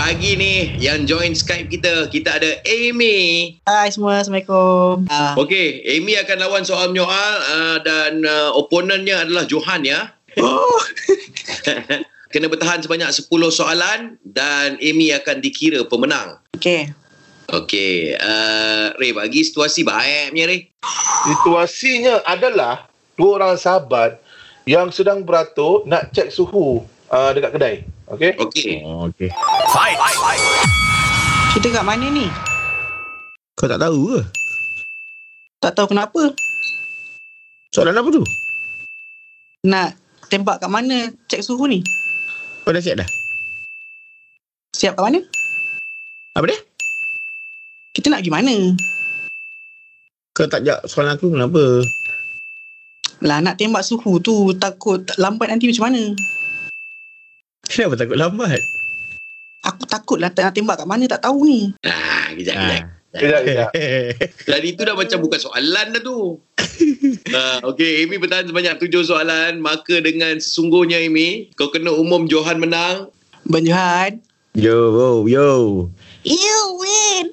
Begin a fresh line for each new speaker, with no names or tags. Pagi ni yang join Skype kita, kita ada Amy.
Hai semua, Assalamualaikum. Ah,
Okey, Amy akan lawan soal menyoal uh, dan uh, oponennya adalah Johan ya. Kena bertahan sebanyak 10 soalan dan Amy akan dikira pemenang.
okay.
Okey, uh, Ray bagi situasi baik punya Ray.
Situasinya adalah dua orang sahabat yang sedang beratur nak cek suhu uh, dekat kedai. Okey.
Okey.
Oh, okey.
Kita kat mana ni?
Kau tak tahu ke?
Tak tahu kenapa.
Soalan apa tu?
Nak tembak kat mana? Cek suhu ni.
Kau dah siap dah?
Siap kat mana?
Apa dia?
Kita nak pergi mana?
Kau tak jawab soalan aku kenapa?
Lah nak tembak suhu tu takut tak- lambat nanti macam mana?
Kenapa takut lambat?
Aku takut lah tak nak tembak kat mana tak tahu ni.
Ah, kejap, kejap.
Kejap, kejap.
Tadi tu dah macam bukan soalan dah tu. uh, okay, Amy bertahan sebanyak tujuh soalan. Maka dengan sesungguhnya Amy, kau kena umum Johan menang.
Ben Johan.
Yo, yo, yo.
You win.